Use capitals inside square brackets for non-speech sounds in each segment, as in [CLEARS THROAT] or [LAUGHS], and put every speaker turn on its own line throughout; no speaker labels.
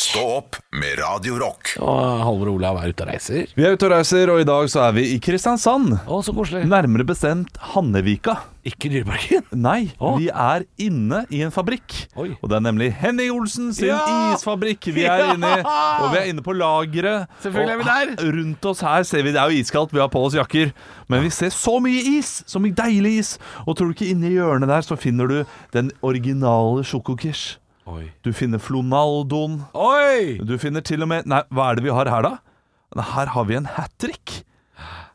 Stå opp med Radio Rock.
Og Halvor Olav er ute og reiser.
Vi er ute og reiser, og i dag så er vi i Kristiansand.
Å, så koselig.
Nærmere bestemt Hannevika.
Ikke Dyreparken.
Nei,
Å.
vi er inne i en fabrikk.
Oi.
Og det er nemlig Henning Olsen sin
Ja!
isfabrikk vi er inne i.
Ja!
Og vi er inne på lageret.
Selvfølgelig er vi
Og
der.
Rundt oss her ser vi, det er jo iskaldt, vi har på oss jakker. Men vi ser så mye is! Så mye deilig is. Og tror du ikke inni hjørnet der så finner du den originale sjokokish.
Oi.
Du finner Flonaldoen.
Oi!
Du finner til og med Nei, hva er det vi har her, da? Her har vi en hat trick.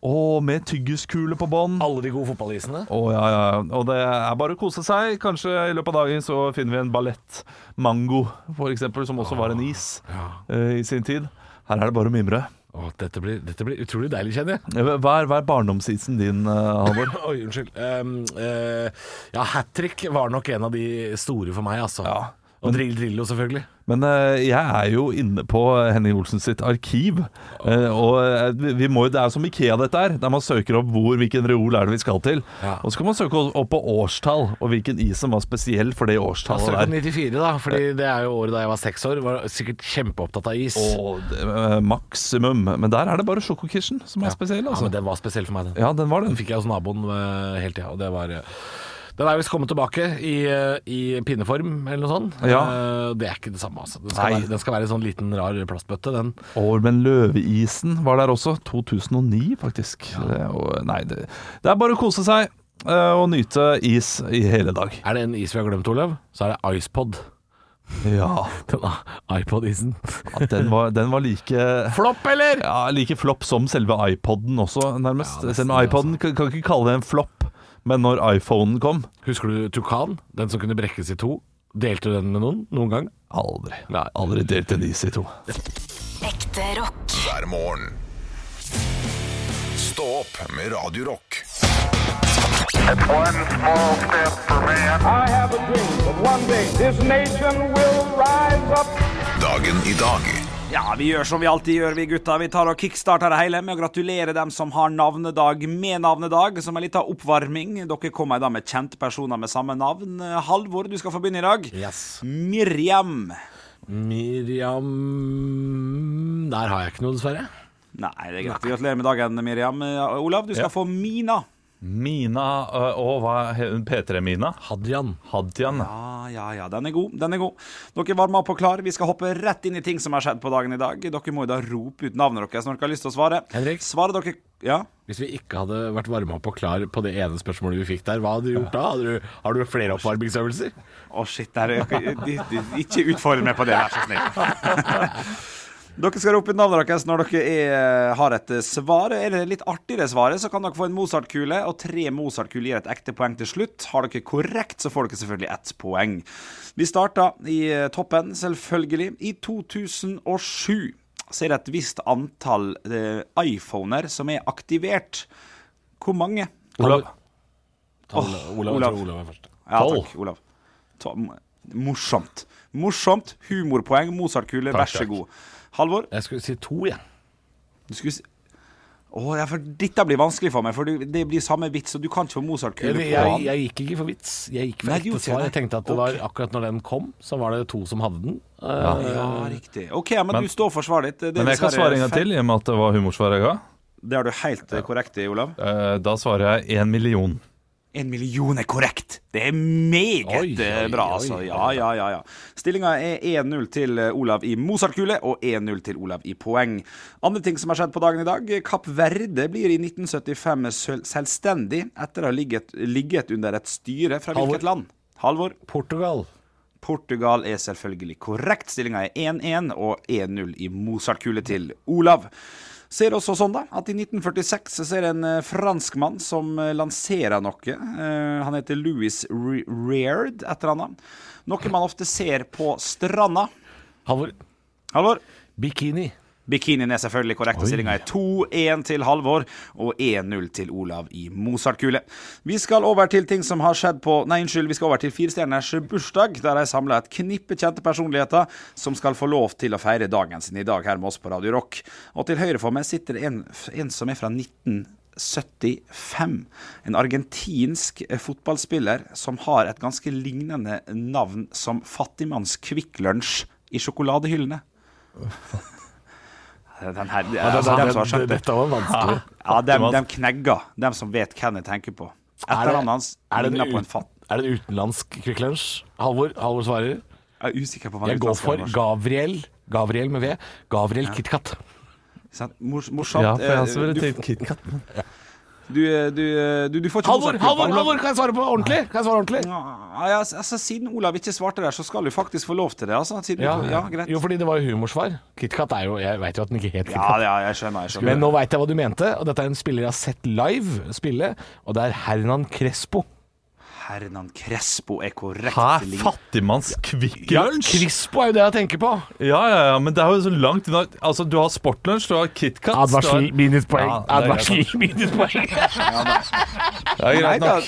Og med tyggiskule på bånn.
Alle de gode fotballisene.
Å, ja, ja. ja. Og det er bare å kose seg. Kanskje i løpet av dagen så finner vi en ballett. Mango, for eksempel, som også var en is eh, i sin tid. Her er det bare å mimre.
Å, dette, blir, dette blir utrolig deilig, kjenner jeg.
Eh, Hva er, hva er barndomsisen din, eh, Halvor?
[LAUGHS] [CLEARS THROAT] Oi, unnskyld. Um, eh, ja, hat trick var nok en av de store for meg, altså.
Ja.
Og Drill Drillo, selvfølgelig.
Men eh, jeg er jo inne på Henning Olsen sitt arkiv. eh, og eh, vi- vi må, jo- det er som Ikea dette er, der man søker opp hvor, hvilken reol er det vi skal til.
Ja.
Og så kan man søke opp på årstall, og hvilken is som var spesiell for det årstallet
Søk på
der.
94, da, fordi det er jo året da jeg var seks år. Var sikkert kjempeopptatt av is.
Og eh, maksimum. Men der er det bare sjokokirsen som er spesiell.
Ja,
Altså.
men den var spesiell for meg, den.
Ja, den var
Den
den.
fikk jeg hos naboen eh, hele tida, og det var eh, Den er visst kommet tilbake i, eh, i pinneform eller noe sånt.
Ja.
Eh, det er ikke det samme, altså. Den skal,
Nei.
være, den skal være en sånn liten rar plastbøtte, den.
Og, men løveisen var der også. 2009, faktisk. Det, og, nei, det, det er bare å kose seg eh, og nyte is i hele dag.
Er det en is vi har glemt, Olav, så er det iPod. [LAUGHS]
Ja,
Den iPod-isen.
at den var, den var like
Flopp, eller?
Ja, like flopp som selve iPoden også, nærmest.
Ja, nesten,
Selv om iPoden kan, kan ikke kalle det en flopp, men når iPhonen kom
[LAUGHS] Husker du Tukan? Den som kunne brekkes i to? Delte du den med noen noen gang?
Aldri.
Nei.
Aldri delt en is i to.
Ekte rock.
Hver morgen. Stå opp med Radio Rock.
One small step for man.
I have a dream that one day this nation will rise up.
Dagen i dag.
Ja, vi gjør som vi alltid gjør, vi gutta. Vi tar og kickstarter det hele med å gratulere dem som har navnedag med navnedag, som en liten oppvarming. Dere kommer i dag med kjente personer med samme navn. Halvor, du skal få begynne i dag.
Yes.
Miriam.
Miriam Der har jeg ikke noe, dessverre.
Nei, det er greit. Vi gratulerer med dagen, Miriam. Eh, Olav, du skal få Mina.
Mina ø, og hva he- hun P3-Mina?
Hadjan.
Hadjan.
Ja, ja, ja. Den er god. Den er god. Dere varmer opp og klar. Vi skal hoppe rett inn i ting som har skjedd på dagen i dag. Dere må jo da rope ut navnet deres når dere har lyst til å svare.
Henrik?
Svarer dere Ja?
Hvis vi ikke hadde vært varma opp og klar på det ene spørsmålet vi fikk der, hva hadde du gjort da? Hadde du, har du flere oppvarmingsøvelser?
Å, shit. Der, er- de, de, ikke utfordre meg på det, vær så snill. [LAUGHS] Dere skal rope ut navnet deres når dere er, eh, har et svar. Er det litt artigere svaret, så kan dere få en Mozart-kule, og tre Mozart-kuler gir et ekte poeng til slutt. Har dere korrekt, så får dere selvfølgelig ett poeng. Vi starter i eh, toppen, selvfølgelig. I 2007 så er det et visst antall eh, iPhoner som er aktivert. Hvor mange?
Olav.
Olav, Olav, Jeg
Olav.
tror Olav er først.
Ja
Tolv.
takk, Olav. Ta, m- morsomt. Morsomt. Humorpoeng. Mozartkule, vær så
takk.
god. Halvor,
Jeg skulle si to, jeg.
du skulle si Å, ja, for dette blir vanskelig for meg, for du- det blir samme vits, og du kan ikke få Mozartkule
Jeg,
på
jeg,
han.
jeg gikk ikke for vits. Jeg gikk for
Nei, du
ekte
gjorde ikke
svar.
det.
Jeg tenkte at det var akkurat når den kom, så var det to som hadde den. Eh,
Ja, riktig. OK, men, du står for svaret ditt. Det er
Men jeg kan
dessverre
svare en gang
feil.
til, i og med at det var humorsvar jeg ga.
Det har du helt eh, korrekt i, Olav.
Eh, Da svarer jeg én million.
En million er korrekt. Det er meget
Oi, oi,
eh, bra,
oi,
altså.
oi,
Ja, ja, ja. ja. Stillinga er 1-0 til eh, Olav i Mozart-kule og 1-0 til Olav i poeng. Andre ting som har skjedd på dagen i dag. eh, Kapp Verde blir i 1975 søl- selvstendig etter å ha ligget, ligget under et styre fra
Halvor.
hvilket land? Halvor.
Portugal.
Portugal er selvfølgelig korrekt. Stillinga er 1-1 og 1-0 i Mozart-kule til Olav. Så er det også sånn da, at i 1946 så er det en eh, franskmann som eh, lanserer noe. Eh, han heter Louis Re- Reard, et eller annet. Noe man ofte ser på stranda.
Halvor.
Halvor?
Bikini.
Bikinien er selvfølgelig korrekt, og stillinga er 2-1 til Halvor og 1-0 til Olav i Mozart-kule. Vi skal over til ting som har skjedd på Nei, unnskyld, vi skal over til Firestjerners bursdag, der de samla et knippe kjente personligheter som skal få lov til å feire dagen sin i dag her med oss på Radio Rock. Og til høyre for meg sitter en, en som er fra 19... 75. En argentinsk eh, fotballspiller som har et ganske lignende navn som fattigmanns Kvikk Lunsj i sjokoladehyllene. Den her, altså, dem som har skjønt det.
dette var vanskelig.
Ja, dem, dem knegger, dem som vet hvem jeg tenker på.
Er det-
Etternavnet hans
er det en
ligner på en
ut-
fatt.
Er det en utenlandsk Kvikk Lunsj? Halvor, Halvor svarer.
Jeg er usikker på hva
Jeg går for
utenlandske er.
Gavriel. Gavriel med V. Gavriel KitKat.
Sant? Mors- Morsomt.
Ja, for jeg
Eh,
har også
du,
ville tenkt KitKat.
du, du, du, du får ikke
Halvor,
Mozart-kule på
Halvor,
Olav.
Halvor, kan jeg svare på ordentlig? Kan jeg svare ordentlig?
Ja, ja, altså, siden Olav ikke svarte der, så skal du faktisk få lov til det. Altså. Siden,
Ja,
ja, ja, greit.
Jo, fordi det var jo humorsvar. KitKat er jo Jeg veit jo at den ikke het
ja,
KitKat.
ja, jeg skjønner. Jeg
Men
skjønner.
nå veit jeg hva du mente, og dette er en spiller jeg har sett live spille, og det er Hernan Crespo.
Hernan Crespo er korrekt.
Hæ?
i linje.
Fattigmanns Kvikk Lunsj?
Crispo er jo det jeg tenker på.
Ja, ja, ja, men det er jo så langt unna. Altså, du har Sportlunsj, du har KitKat
Advarsel,
du har-
minuspoeng.
Ja, det er
Advarsel, minuspoeng.
Ja,
Nei,
greit
da,
nok.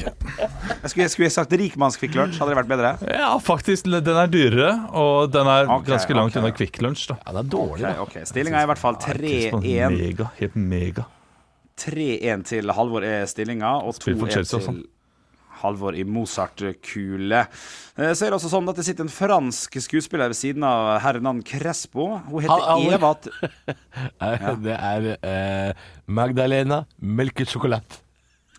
jeg skulle, skulle jeg sagt rikmannskvikk lunsj, hadde det vært bedre?
Ja, faktisk. Den er dyrere, og den er
Ok,
ganske langt
ok.
unna Kvikk Lunsj, da.
Ja, det er dårlig,
Ok,
da.
ok, Stillinga er i hvert fall
Sånn
3-1.
Mega. Helt mega.
3-1 til Halvor er stillinga, og
Spiller for
2-1
Chelsea også.
til Halvor i Mozart-kule. Eh, Så er det også sånn at det sitter en fransk skuespiller ved siden av Hernan Crespo. Hun heter
Hal- Halvor.
Eva T-
Eh, [LAUGHS] Det er eh, Magdalena melkesjokolade.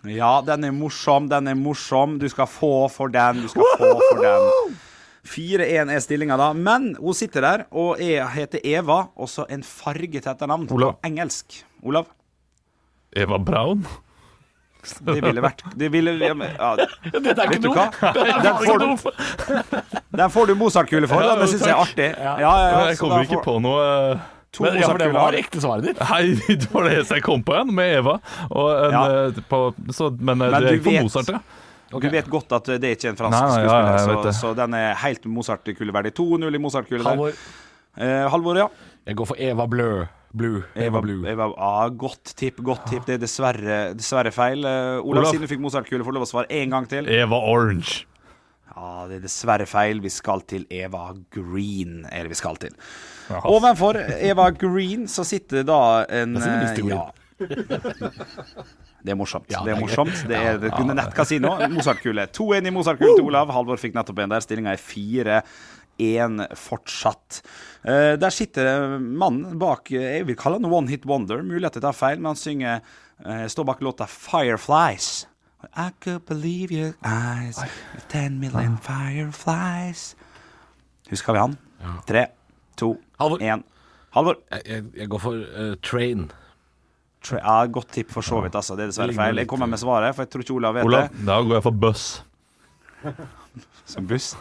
Ja, den er morsom, den er morsom. Du skal få for den, du skal få for den. 4-1 er stillinga, da. Men hun sitter der, og jeg heter Eva. Også en farge til etternavn.
Olav.
På engelsk. Olav.
Eva Braun?
Det ville vært Det ville ja, men- ja,
Dette er
Vet du
[LAUGHS]
hva? Den får du, [LAUGHS] den får du Mozart-kule for.
Ja,
Den syns jeg er artig. Ja, ja, ja,
jeg
så da
kommer ikke
får-
på noe eh,
to
men- ja, for det
Det
Mozart-kuler.
var ekte svaret ditt.
Hei, [LAUGHS] det var det eneste jeg kom på igjen, med Eva. Og en,
Ja.
eh, på, så, men, eh,
Men
det
du
er ikke
vet-
på Mozart, ja.
Du vet godt at det er ikke en fransk
Nei, nei, ja,
skuespiller,
ja, jeg vet
så,
det.
så den er helt Mozart-kuleverdig. 2-0 i Mozart-kule der.
Halvor,
Eh, Halvor, ja.
jeg går for Eva Blø. Blue. Eva Blue.
Jeg var, ah, godt tipp, godt tipp. Det er dessverre, dessverre feil. Eh, Olav,
Olav.
siden du fikk Mozart-kule, får du lov å svare én gang til.
Eva Orange.
Ja, det er dessverre feil. Vi skal til Eva Green, er det vi skal til. Ovenfor Eva Green så sitter da en
sitter Mr.
eh,
Green.
Det er morsomt.
Ja,
det er
det er
morsomt. Det er et nettkasino. Mozart-kule. 2-1 i Mozart-kule til Olav. Halvor fikk nettopp en der. Stillinga er 4-1 fortsatt. Eh, der sitter det mannen bak eh, Jeg vil kalle han One Hit Wonder. Mulig at jeg tar feil, men han synger eh, Står bak låta Fireflies. I could believe your eyes with 10 million fireflies. Husker vi han? Tre, to,
Halvor.
én. Halvor.
Jeg, jeg, jeg går for eh, Train.
Tra- Ja, godt tipp for så vidt, altså. Det er dessverre
ligner
feil.
litt.
Jeg kommer med svaret, for jeg tror ikke Olav vet
Olav,
det.
da går jeg for Buss.
Som buss.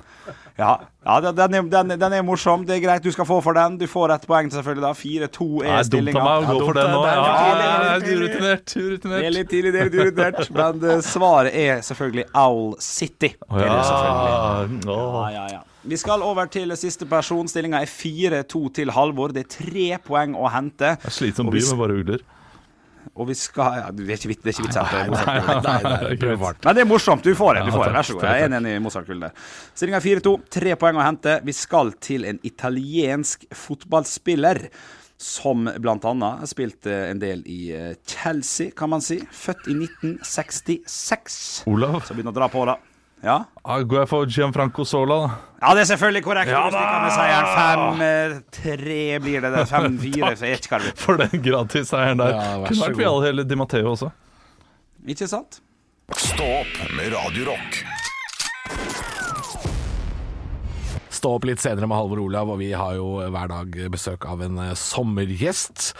Ja, ja den, den, er, den, den er morsom. Det er greit, du skal få for den. Du får ett poeng, selvfølgelig. da
Det
4-2 er
er dumt av
stillinga.
meg å gå for det nå.
det er-
Ja,
Ja,
jeg er urutinert. urutinert.
Det er litt tidlig, det er litt urutinert, men eh, svaret er selvfølgelig Owl City. Det er det selvfølgelig.
Åh.
Ja, ja, ja. Vi skal over til siste person. Stillinga er 4-2 til Halvor. Det er tre poeng å hente.
Det er slitsom
Og
by
vi-
med bare ugler.
Og vi skal ja, du, Det er ikke vits det er ikke vits at det er Mozart.
Nei, nei,
Greit.
prøv hardt.
Men det er morsomt. Du får det. du
Ja,
får det.
takk,
Vær så god. Jeg er enig i Mozart-kullet der. Stillinga er 4-2. Tre poeng å hente. Vi skal til en italiensk fotballspiller. Som blant annet spilte en del i eh, Chelsea, kan man si. Født i 1966.
Olav,
Så begynner å dra på, da. Ja?
da går jeg for Gianfranco Sola, da.
Ja, det er selvfølgelig korrekt. Ja, Stikker med seieren. Fem, eh, tre blir det. det. Fem, fire, så jeg vet ikke hva det blir.
For den gratisseieren der.
Ja, vær
Kunne
så
vært
god.
Vial hele Di Matteo også.
Ikke sant?
Stå opp med Radio Rock.
Stå opp litt senere med Halvor Olav, og vi har jo hver dag besøk av en eh, sommergjest.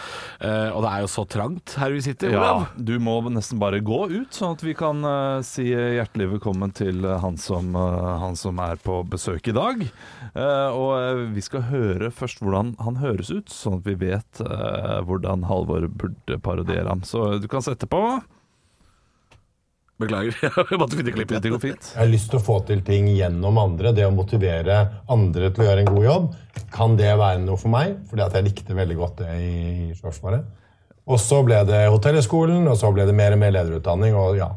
Eh, og det er jo så trangt her vi sitter, Olav.
Ja, du må nesten bare gå ut, sånn at vi kan eh, si hjertelig velkommen til eh, han som, eh, han som er på besøk i dag. Eh, og eh, vi skal høre først hvordan han høres ut, sånn at vi vet eh, hvordan Halvor burde parodiere ham. Så du kan sette på.
Beklager, [LAUGHS] jeg måtte finne klippet.
Det går fint.
Jeg har lyst til å få til ting gjennom andre. Det å motivere andre til å gjøre en god jobb. Kan det være noe for meg? Fordi at jeg likte veldig godt det i i Forsvaret. Og så ble det hotellhøgskolen, og så ble det mer og mer lederutdanning. og ja.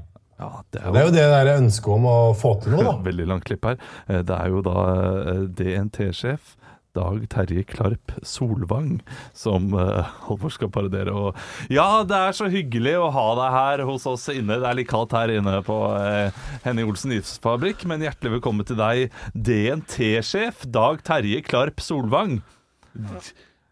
Ja, det
Det
er
er jo det der
[LAUGHS]
ønsket om å få til noe, da.
jo veldig langt klipp her. Eh, det er jo da eh, DNT-sjef. Dag Terje Klarp Solvang, som eh, [LAUGHS] Halvor skal parodiere. Og ja, det er så hyggelig å ha deg her hos oss inne. Det er litt kaldt her inne på eh, Henny Olsen Gipsfabrikk, men hjertelig velkommen til deg, DNT-sjef Dag Terje Klarp Solvang.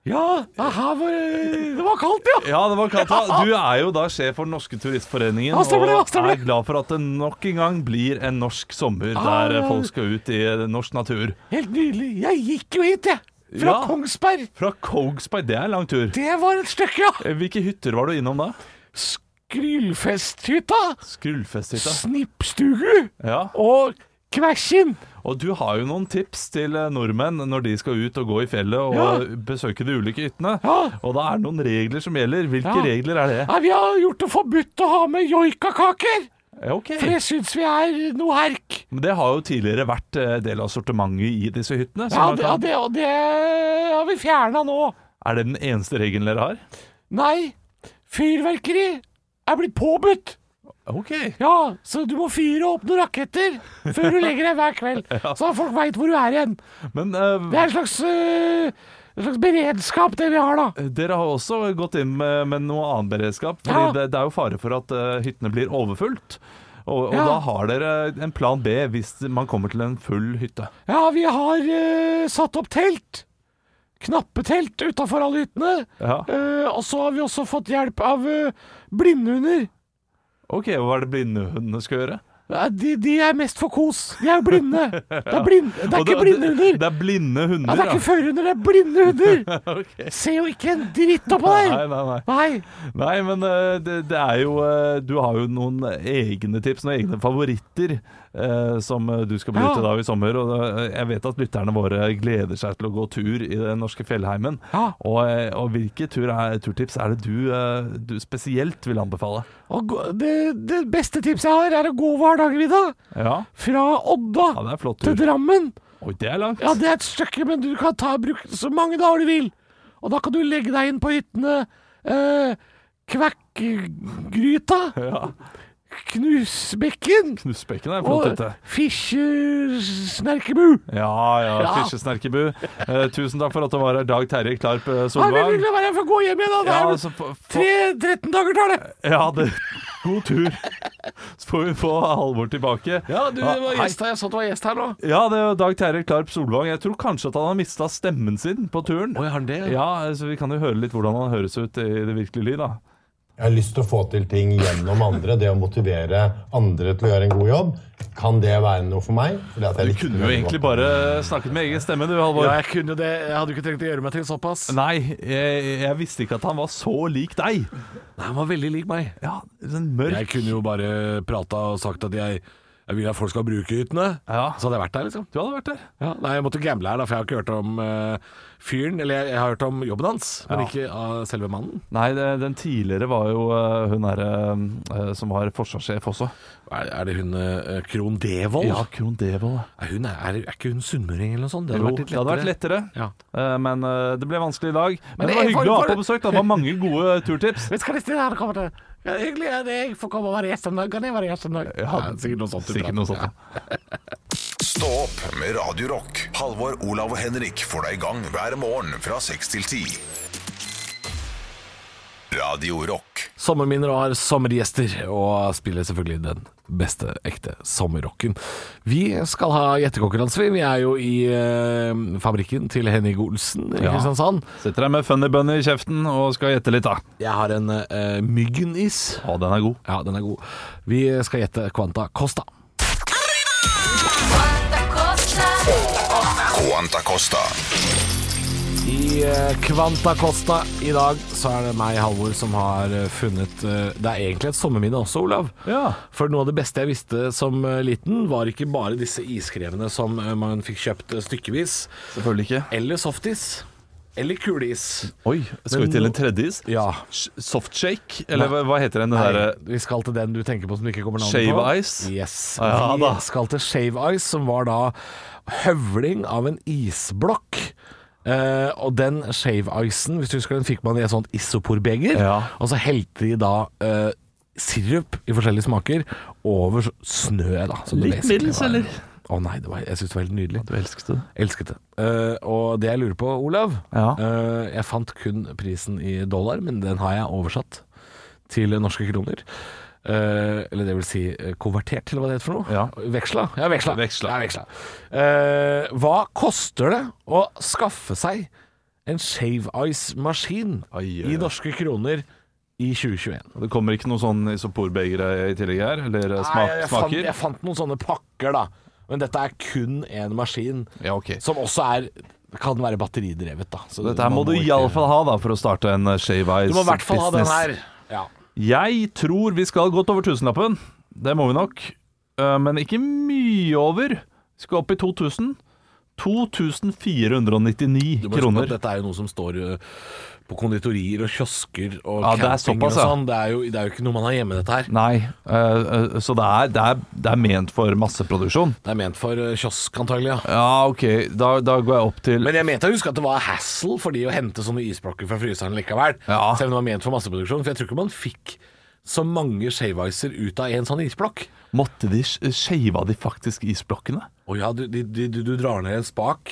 Ja,
Aha, hvor, det var kaldt, ja!
ja, det var kaldt. da. Du er jo da sjef for Den norske turistforeningen
Ja, stemmer det, ja,
og
stemmer
er
det.
glad for at det nok en gang blir en norsk sommer
Ah,
der
ja.
folk skal ut i norsk natur.
Helt nydelig. Jeg gikk jo hit, jeg. Fra
Ja.
Kongsberg.
Fra Kongsberg, det er en lang tur.
Det var et stykke, ja.
Eh, Hvilke hytter var du innom da?
Skrylfesthytta,
Skrullfesthytta.
Snippstugu
Ja.
og Kvæsjen.
Og du har jo noen tips til eh, nordmenn når de skal ut og gå i fjellet og
Ja.
besøke de ulike hyttene.
Ja.
Og da er det noen regler som gjelder. Hvilke
Ja.
regler er det?
Ja, vi har gjort det forbudt å ha med joikakaker,
Ja, ok.
for det syns vi er noe herk.
Men det har jo tidligere vært eh, del av sortimentet i disse hyttene. så
Ja,
man
det, ja,
kan-
det, og det har vi fjerna nå.
Er det den eneste regelen dere har?
Nei, fyrverkeri er blitt påbudt.
Ok.
Ja, så du må fyre opp noen raketter før du legger deg hver
[LAUGHS]
kveld, så folk veit hvor du er igjen.
Men
Det
eh,
er en slags, øh, en slags beredskap, det vi har da.
Eh, dere har også gått inn med, med noe annen beredskap. Fordi
Ja.
det, det er jo fare for at eh, hyttene blir overfullt. Og, og
Ja.
da har dere en plan B hvis man kommer til en full hytte.
Ja, vi har eh, satt opp telt. Knappetelt utafor alle hyttene.
Ja.
Eh, og så har vi også fått hjelp av eh, blindhunder.
OK, hva er det blindehundene skal gjøre?
Ja, De, de er mest for kos. De er jo blinde.
[LAUGHS]
Det er, blind, det er
Og det-
ikke blindhunder.
Det er blinde
Ja,
hunder,
det er ikke førhunder, det er blinde
[LAUGHS]
hunder.
Ok.
Ser jo ikke en dritt oppå
Nei,
der.
nei, nei.
Nei.
Nei, men eh, det, det er jo eh, Du har jo noen egne tips, noen egne favoritter eh, som eh, du skal
Ja.
benytte deg av i sommer. Og eh, jeg vet at lytterne våre gleder seg til å gå tur i den norske fjellheimen.
Ja.
Og, eh, og hvilke tur er, turtips er det du, eh, du spesielt vil anbefale?
Og gå- det, det beste tipset jeg har, er å gå over Hardangervidda.
Ja,
Fra Odda
ja det er flott
til
tur.
Drammen.
Oi, det er langt.
Ja, det er et stykke, men du kan ta bruk så mange dager du vil. Og da kan du legge deg inn på hyttene eh, Kvekkgryta,
Ja,
Knusbekken
Knusbekken er en flott
og
hytte.
Fisjesnerkebu.
Ja, ja,
Ja.
Fisjesnerkebu. Eh, tusen takk for at du var her, Dag Terje Klarp eh,
Det er veldig
Solvang.
hyggelig å være her, for å gå hjem igjen. da. Det
Ja,
er
altså, få- få-
tre, 13 dager tar det.
Ja, det, god tur. Så får vi få Halvor tilbake. Hei.
Jeg så du var gjest her nå.
Ja, det er Dag Terje Klarp Solvang. Jeg tror kanskje at han har mista stemmen sin på turen.
Oi, har han det?
Ja, så vi kan jo høre litt hvordan han høres ut i det virkelige liv, da.
Jeg har lyst til å få til ting gjennom andre. Det å motivere andre til å gjøre en god jobb. Kan det være noe for meg? Fordi at
Du
jeg likte
kunne jo
det veldig
egentlig
godt.
bare snakket med egen stemme, du, Halvor.
Ja, jeg kunne det. Jeg hadde jo ikke trengt å gjøre meg til såpass.
Nei, jeg, jeg visste ikke at han var så lik deg.
Han var veldig lik meg.
Ja, sånn mørk.
Jeg kunne jo bare prata og sagt at jeg, jeg vil at folk skal bruke hyttene.
Ja.
Så hadde jeg vært der, liksom.
Du hadde vært der.
Ja, nei, jeg måtte gamble her, da, for jeg har ikke hørt om eh, fyren. Eller jeg, jeg har hørt om jobben hans, men
Ja.
ikke av selve mannen.
Nei, det- den tidligere var jo eh, hun derre som var forsvarssjef også.
Er, er det hun eh, Krohn Devold?
Ja, Krohn Devold.
Er, hun, er, er ikke hun sunnmøring eller noe sånt?
Jo, det hadde vært lettere.
Ja.
Eh, Men eh, det ble vanskelig i dag. Men, det
det er-
var hyggelig å ha
for-
på besøk. da. Det var mange gode turtips.
Vet du hva det stedet her kommer til? Ja, hyggelig at jeg får komme og være gjest om dagen. Kan jeg være gjest om dagen? [LAUGHS] Ja, sikkert noe sånt. du prater.
Sikkert noe sånt. ja.
Stå opp med Radio Rock. Halvor, Olav og Henrik får deg i gang hver morgen fra 6 til 10. Radio Rock.
Sommerminner og har sommergjester, og spiller selvfølgelig den beste ekte sommerrocken. Vi skal ha gjettekonkurranse, vi. Vi er jo i eh, fabrikken til Henning Olsen i
Ja.
Kristiansand.
Sitter her med Funny Bunny i kjeften og skal gjette litt, da.
Jeg har en eh, myggenis.
Å, den er god.
Ja, den er god. Vi skal gjette Quanta Costa.
Quanta Costa.
I eh, Quanta Costa i dag så er det meg, Halvor, som har eh, funnet eh, Det er egentlig et sommerminne også, Olav.
Ja.
For noe av det beste jeg visste som eh, liten, var ikke bare disse iskremene som eh, man fikk kjøpt eh, stykkevis,
Selvfølgelig ikke.
eller softis, eller kuleis.
Oi, skal vi
Men
til en
nå-
tredje is?
Ja.
Sh- Softshake? Eller hva- hva heter den eh,
Nei,
derre
vi skal til den du tenker på som du ikke kommer navnet
Shave
på.
Ice? Ah,
Yes.
Ja,
vi
da.
skal til Shave Ice, som var da høvling av en isblokk. Eh, og den shave-icen, hvis du husker den, fikk man i et sånt isoporbeger.
Ja.
Og så helte de da eh, sirup i forskjellige smaker over snø, da. som det
Litt
basically
middels,
var.
eller?
Å nei, det var, jeg syns det var helt nydelig.
Du elsket det.
Elsket det. Eh, og det jeg lurer på, Olav
Ja.
eh, Jeg fant kun prisen i dollar, men den har jeg oversatt til norske kroner. Eh, eller det vil si eh, konvertert til hva det heter for noe.
Ja.
Veksla. Ja, veksla.
Veksla.
Ja, veksla. Eh, hva koster det å skaffe seg en shave ice-maskin
Ai, ai, ai.
i norske kroner i 2021?
Det kommer ikke noe sånn isoporbegere i tillegg her? Eller eh,
Nei,
smak,
jeg, fant,
smaker?
jeg fant noen sånne pakker, da. Men dette er kun en maskin.
Ja, ok.
Som også er kan være batteridrevet, da. Så
Dette her
man
må du
ikke-
iallfall ha da for å starte en eh, shave ice
Du må i hvert fall ha den
business.
her. Ja.
Jeg tror vi skal godt over tusenlappen. Det må vi nok. Eh, Men ikke mye over. Vi skal opp i 2000. 2499
Du må huske på at
kroner.
Dette er jo noe som står ø, på konditorier og kiosker og
Ja, det er
camping
såpass,
og
ja.
sånn. Det er, jo, det er jo ikke noe man har hjemme, dette her.
Nei, eh, eh, så det er, det, er, det er ment for masseproduksjon.
Det er ment for ø, kiosk, antagelig. Ja.
Ja, OK, da, da går jeg opp til
Men jeg mente å huske at det var hassle for de å hente sånne isblokker fra fryseren likevel.
Ja.
Selv om det var ment for masseproduksjon. For jeg tror ikke man fikk så mange shaveiser ut av en sånn isblokk.
Måtte de shava de faktisk isblokkene?
Å ja, du, de, de, du, du drar ned en spak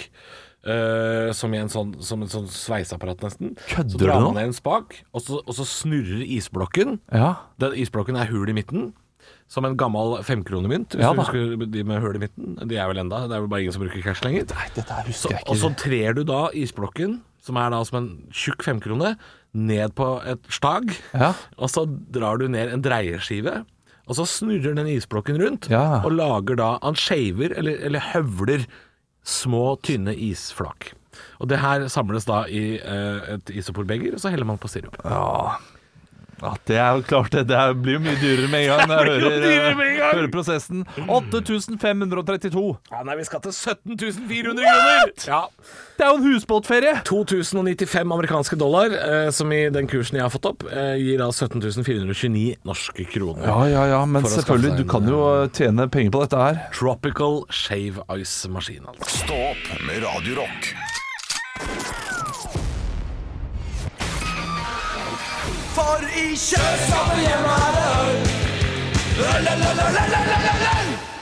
eh, som, i en sånn, som en sånn sveiseapparat, nesten.
Kødder
så
du
drar
nå?
man ned en spak, og så, og så snurrer isblokken.
Ja.
Den isblokken er hul i midten. Som en gammel femkronemynt. Hvis
Ja
du
da.
husker de med hull i midten. De er vel enda, det er vel bare ingen som bruker cash lenger.
Nei, dette her
Så,
husker jeg
og så
ikke.
trer du da isblokken, som er da som en tjukk femkrone, ned på et stag.
Ja.
Og så drar du ned en dreieskive, og så snurrer den isblokken rundt,
Ja.
og lager da Han shaver, eller, eller høvler, små, tynne isflak. Og det her samles da i eh, et isoporbeger, og så heller man på sirup.
Ja, det er jo klart det. Det er- blir jo mye dyrere med en [LAUGHS] gang. når Jeg
Det blir jo
hører,
dyrere med en gang.
hører prosessen. 8532.
Ja, nei, vi skal til 17 400 kroner! Ja.
Det er jo en husbåtferie!
2095 amerikanske dollar, eh, som i den kursen jeg har fått opp, eh, gir da 17 429 norske kroner.
Ja, ja, ja, men
For å skaffe
selvfølgelig,
seg
du
en,
kan jo eh, tjene penger på dette her.
Tropical Shave Ice-maskin, altså.
Stå opp med Radio Rock.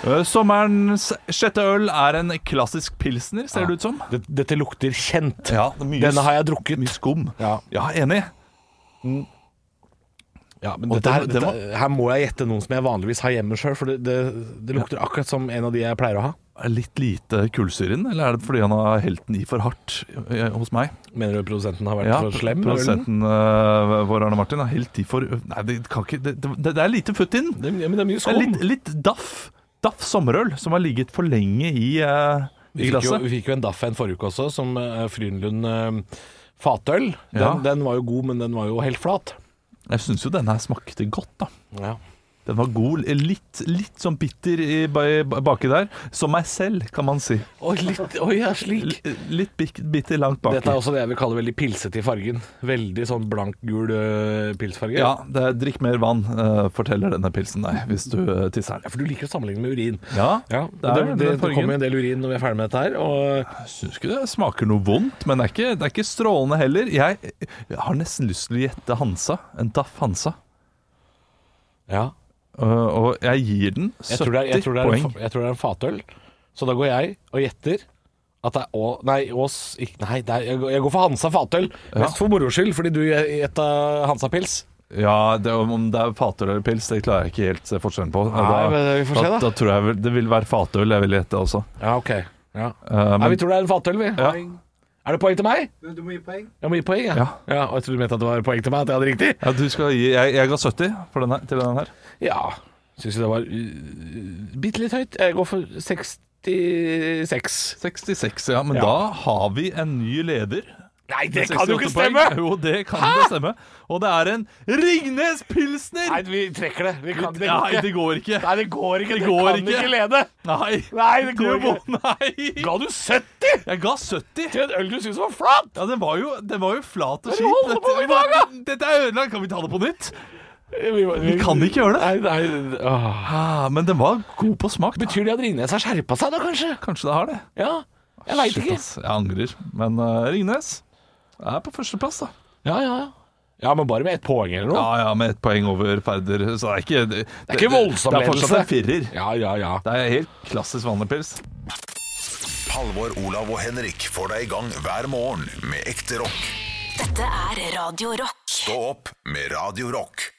Eh, Sommerens sjette øl er en klassisk pilsner, ser det ut som.
Dette lukter kjent.
Ja, mye,
Denne har jeg drukket.
mye skum.
Ja.
Ja, enig.
Ja, men
Og
dette, her-
den- den var-
dette, her må jeg gjette noen som jeg vanligvis har hjemme sjøl, for det, det, det lukter akkurat som en av de jeg pleier å ha.
Litt lite kullsyre i den, eller er det fordi han har helt den i for hardt eh, hos meg?
Mener du produsenten har vært
Ja,
for slem? med ølen?
Produsenten eh, vår, Arne Martin, har helt i for Nei, det, kan ikke, det, det, det er lite futt i den.
Det, ja, men det er mye
Det er
skum.
litt, litt daff. Daff sommerøl, som har ligget for lenge i, eh,
Vi
i
fikk, jo,
glasset.
vi fikk jo en daff en forrige uke også, som eh, Frynlund eh, fatøl. Den,
Ja.
den var jo god, men den var jo helt flat.
Jeg syns jo denne her smakte godt, da.
Ja.
Den var god. Litt, litt sånn bitter i, ba- baki der. Som meg selv, kan man si.
Oi, litt, oi, ja, slik.
L litt bik- bitter langt baki.
Dette er også det jeg vil kalle veldig pilsete i fargen. Veldig sånn blank-gul eh, pilsfarge.
ja, det er Drikk mer vann, eh, forteller denne pilsen deg, hvis du eh, tisser
Ja,
den.
For du liker å sammenligne med urin.
Ja,
det, det, det,
den fargen.
kommer jo en del urin når vi er ferdig med dette her. Og
Jeg syns ikke det smaker noe vondt, men det er ikke, det er ikke strålende heller. Jeg, jeg har nesten lyst til å gjette Hansa. En Daff Hansa.
ja,
Eh, og jeg gir den 70
jeg, tror det er, jeg, tror det er
poeng.
en, fa- jeg tror det er en fatøl. Så da går jeg og gjetter at det er Å... Nei, Ås ikke, Nei, det er, jeg går- jeg går for Hansa fatøl. Mest for moro skyld, fordi du gjetta Hansa pils.
Ja, det, om det er fatøl eller pils, det klarer jeg ikke helt se forskjellen på.
Nei, men vi får se,
da,
da.
da tror jeg vel- det vil være fatøl jeg vil gjette også.
Ja, ok. Ja.
Eh,
Nei,
men
vi tror det er en fatøl, vi.
Ja.
Er det poeng til meg?
Du må gi poeng.
Jeg må gi poeng, jeg.
Ja.
og jeg trodde du mente at det var poeng til meg, at jeg hadde riktig.
ja, du skal gi, jeg, jeg ga 70 for den her, til den her.
Ja, syns jeg det var uh, bitte litt høyt. Jeg går for 66.
66, ja. Men
Ja.
da har vi en ny leder.
Nei, det
Med
kan jo
68
ikke
poeng.
stemme!
Jo, det kan det stemme. Og det er en Ringnes Pilsner!
Nei, vi trekker det. Vi kan, det går
Nei,
ikke.
det går ikke.
Nei, det går ikke.
Det
Det
går
kan
ikke.
ikke. lede.
Nei,
Nei, det går
du må-
ikke.
Nei!
Ga du 70
Jeg ga 70.
til en øl du syntes var flat?
Ja, den var jo, den var jo flat og
Hva er det
skit.
du holder på med i dag, da?
Dette- Dette er ødelagt. Kan vi ta det på nytt?
Vi,
Vi kan ikke gjøre det.
Nei, nei, åh.
Ah, men den var god på smak. da.
Betyr det at Ringnes har skjerpa seg da, kanskje?
Kanskje det har det.
Ja, jeg veit
Shit,
ikke.
ass. Jeg angrer. Men eh, Ringnes er på førsteplass, da.
Ja, ja, ja. Ja, men bare med ett poeng eller noe.
Ja ja, med ett poeng over Færder, så det er ikke Det,
ikke voldsom
Det er fortsatt
ledelse.
en firer.
Ja, ja, ja.
Det er helt klassisk vanlig pils.
Halvor, Olav og Henrik får deg i gang hver morgen med ekte rock.
Dette er Radio Rock.
Stå opp med Radio Rock.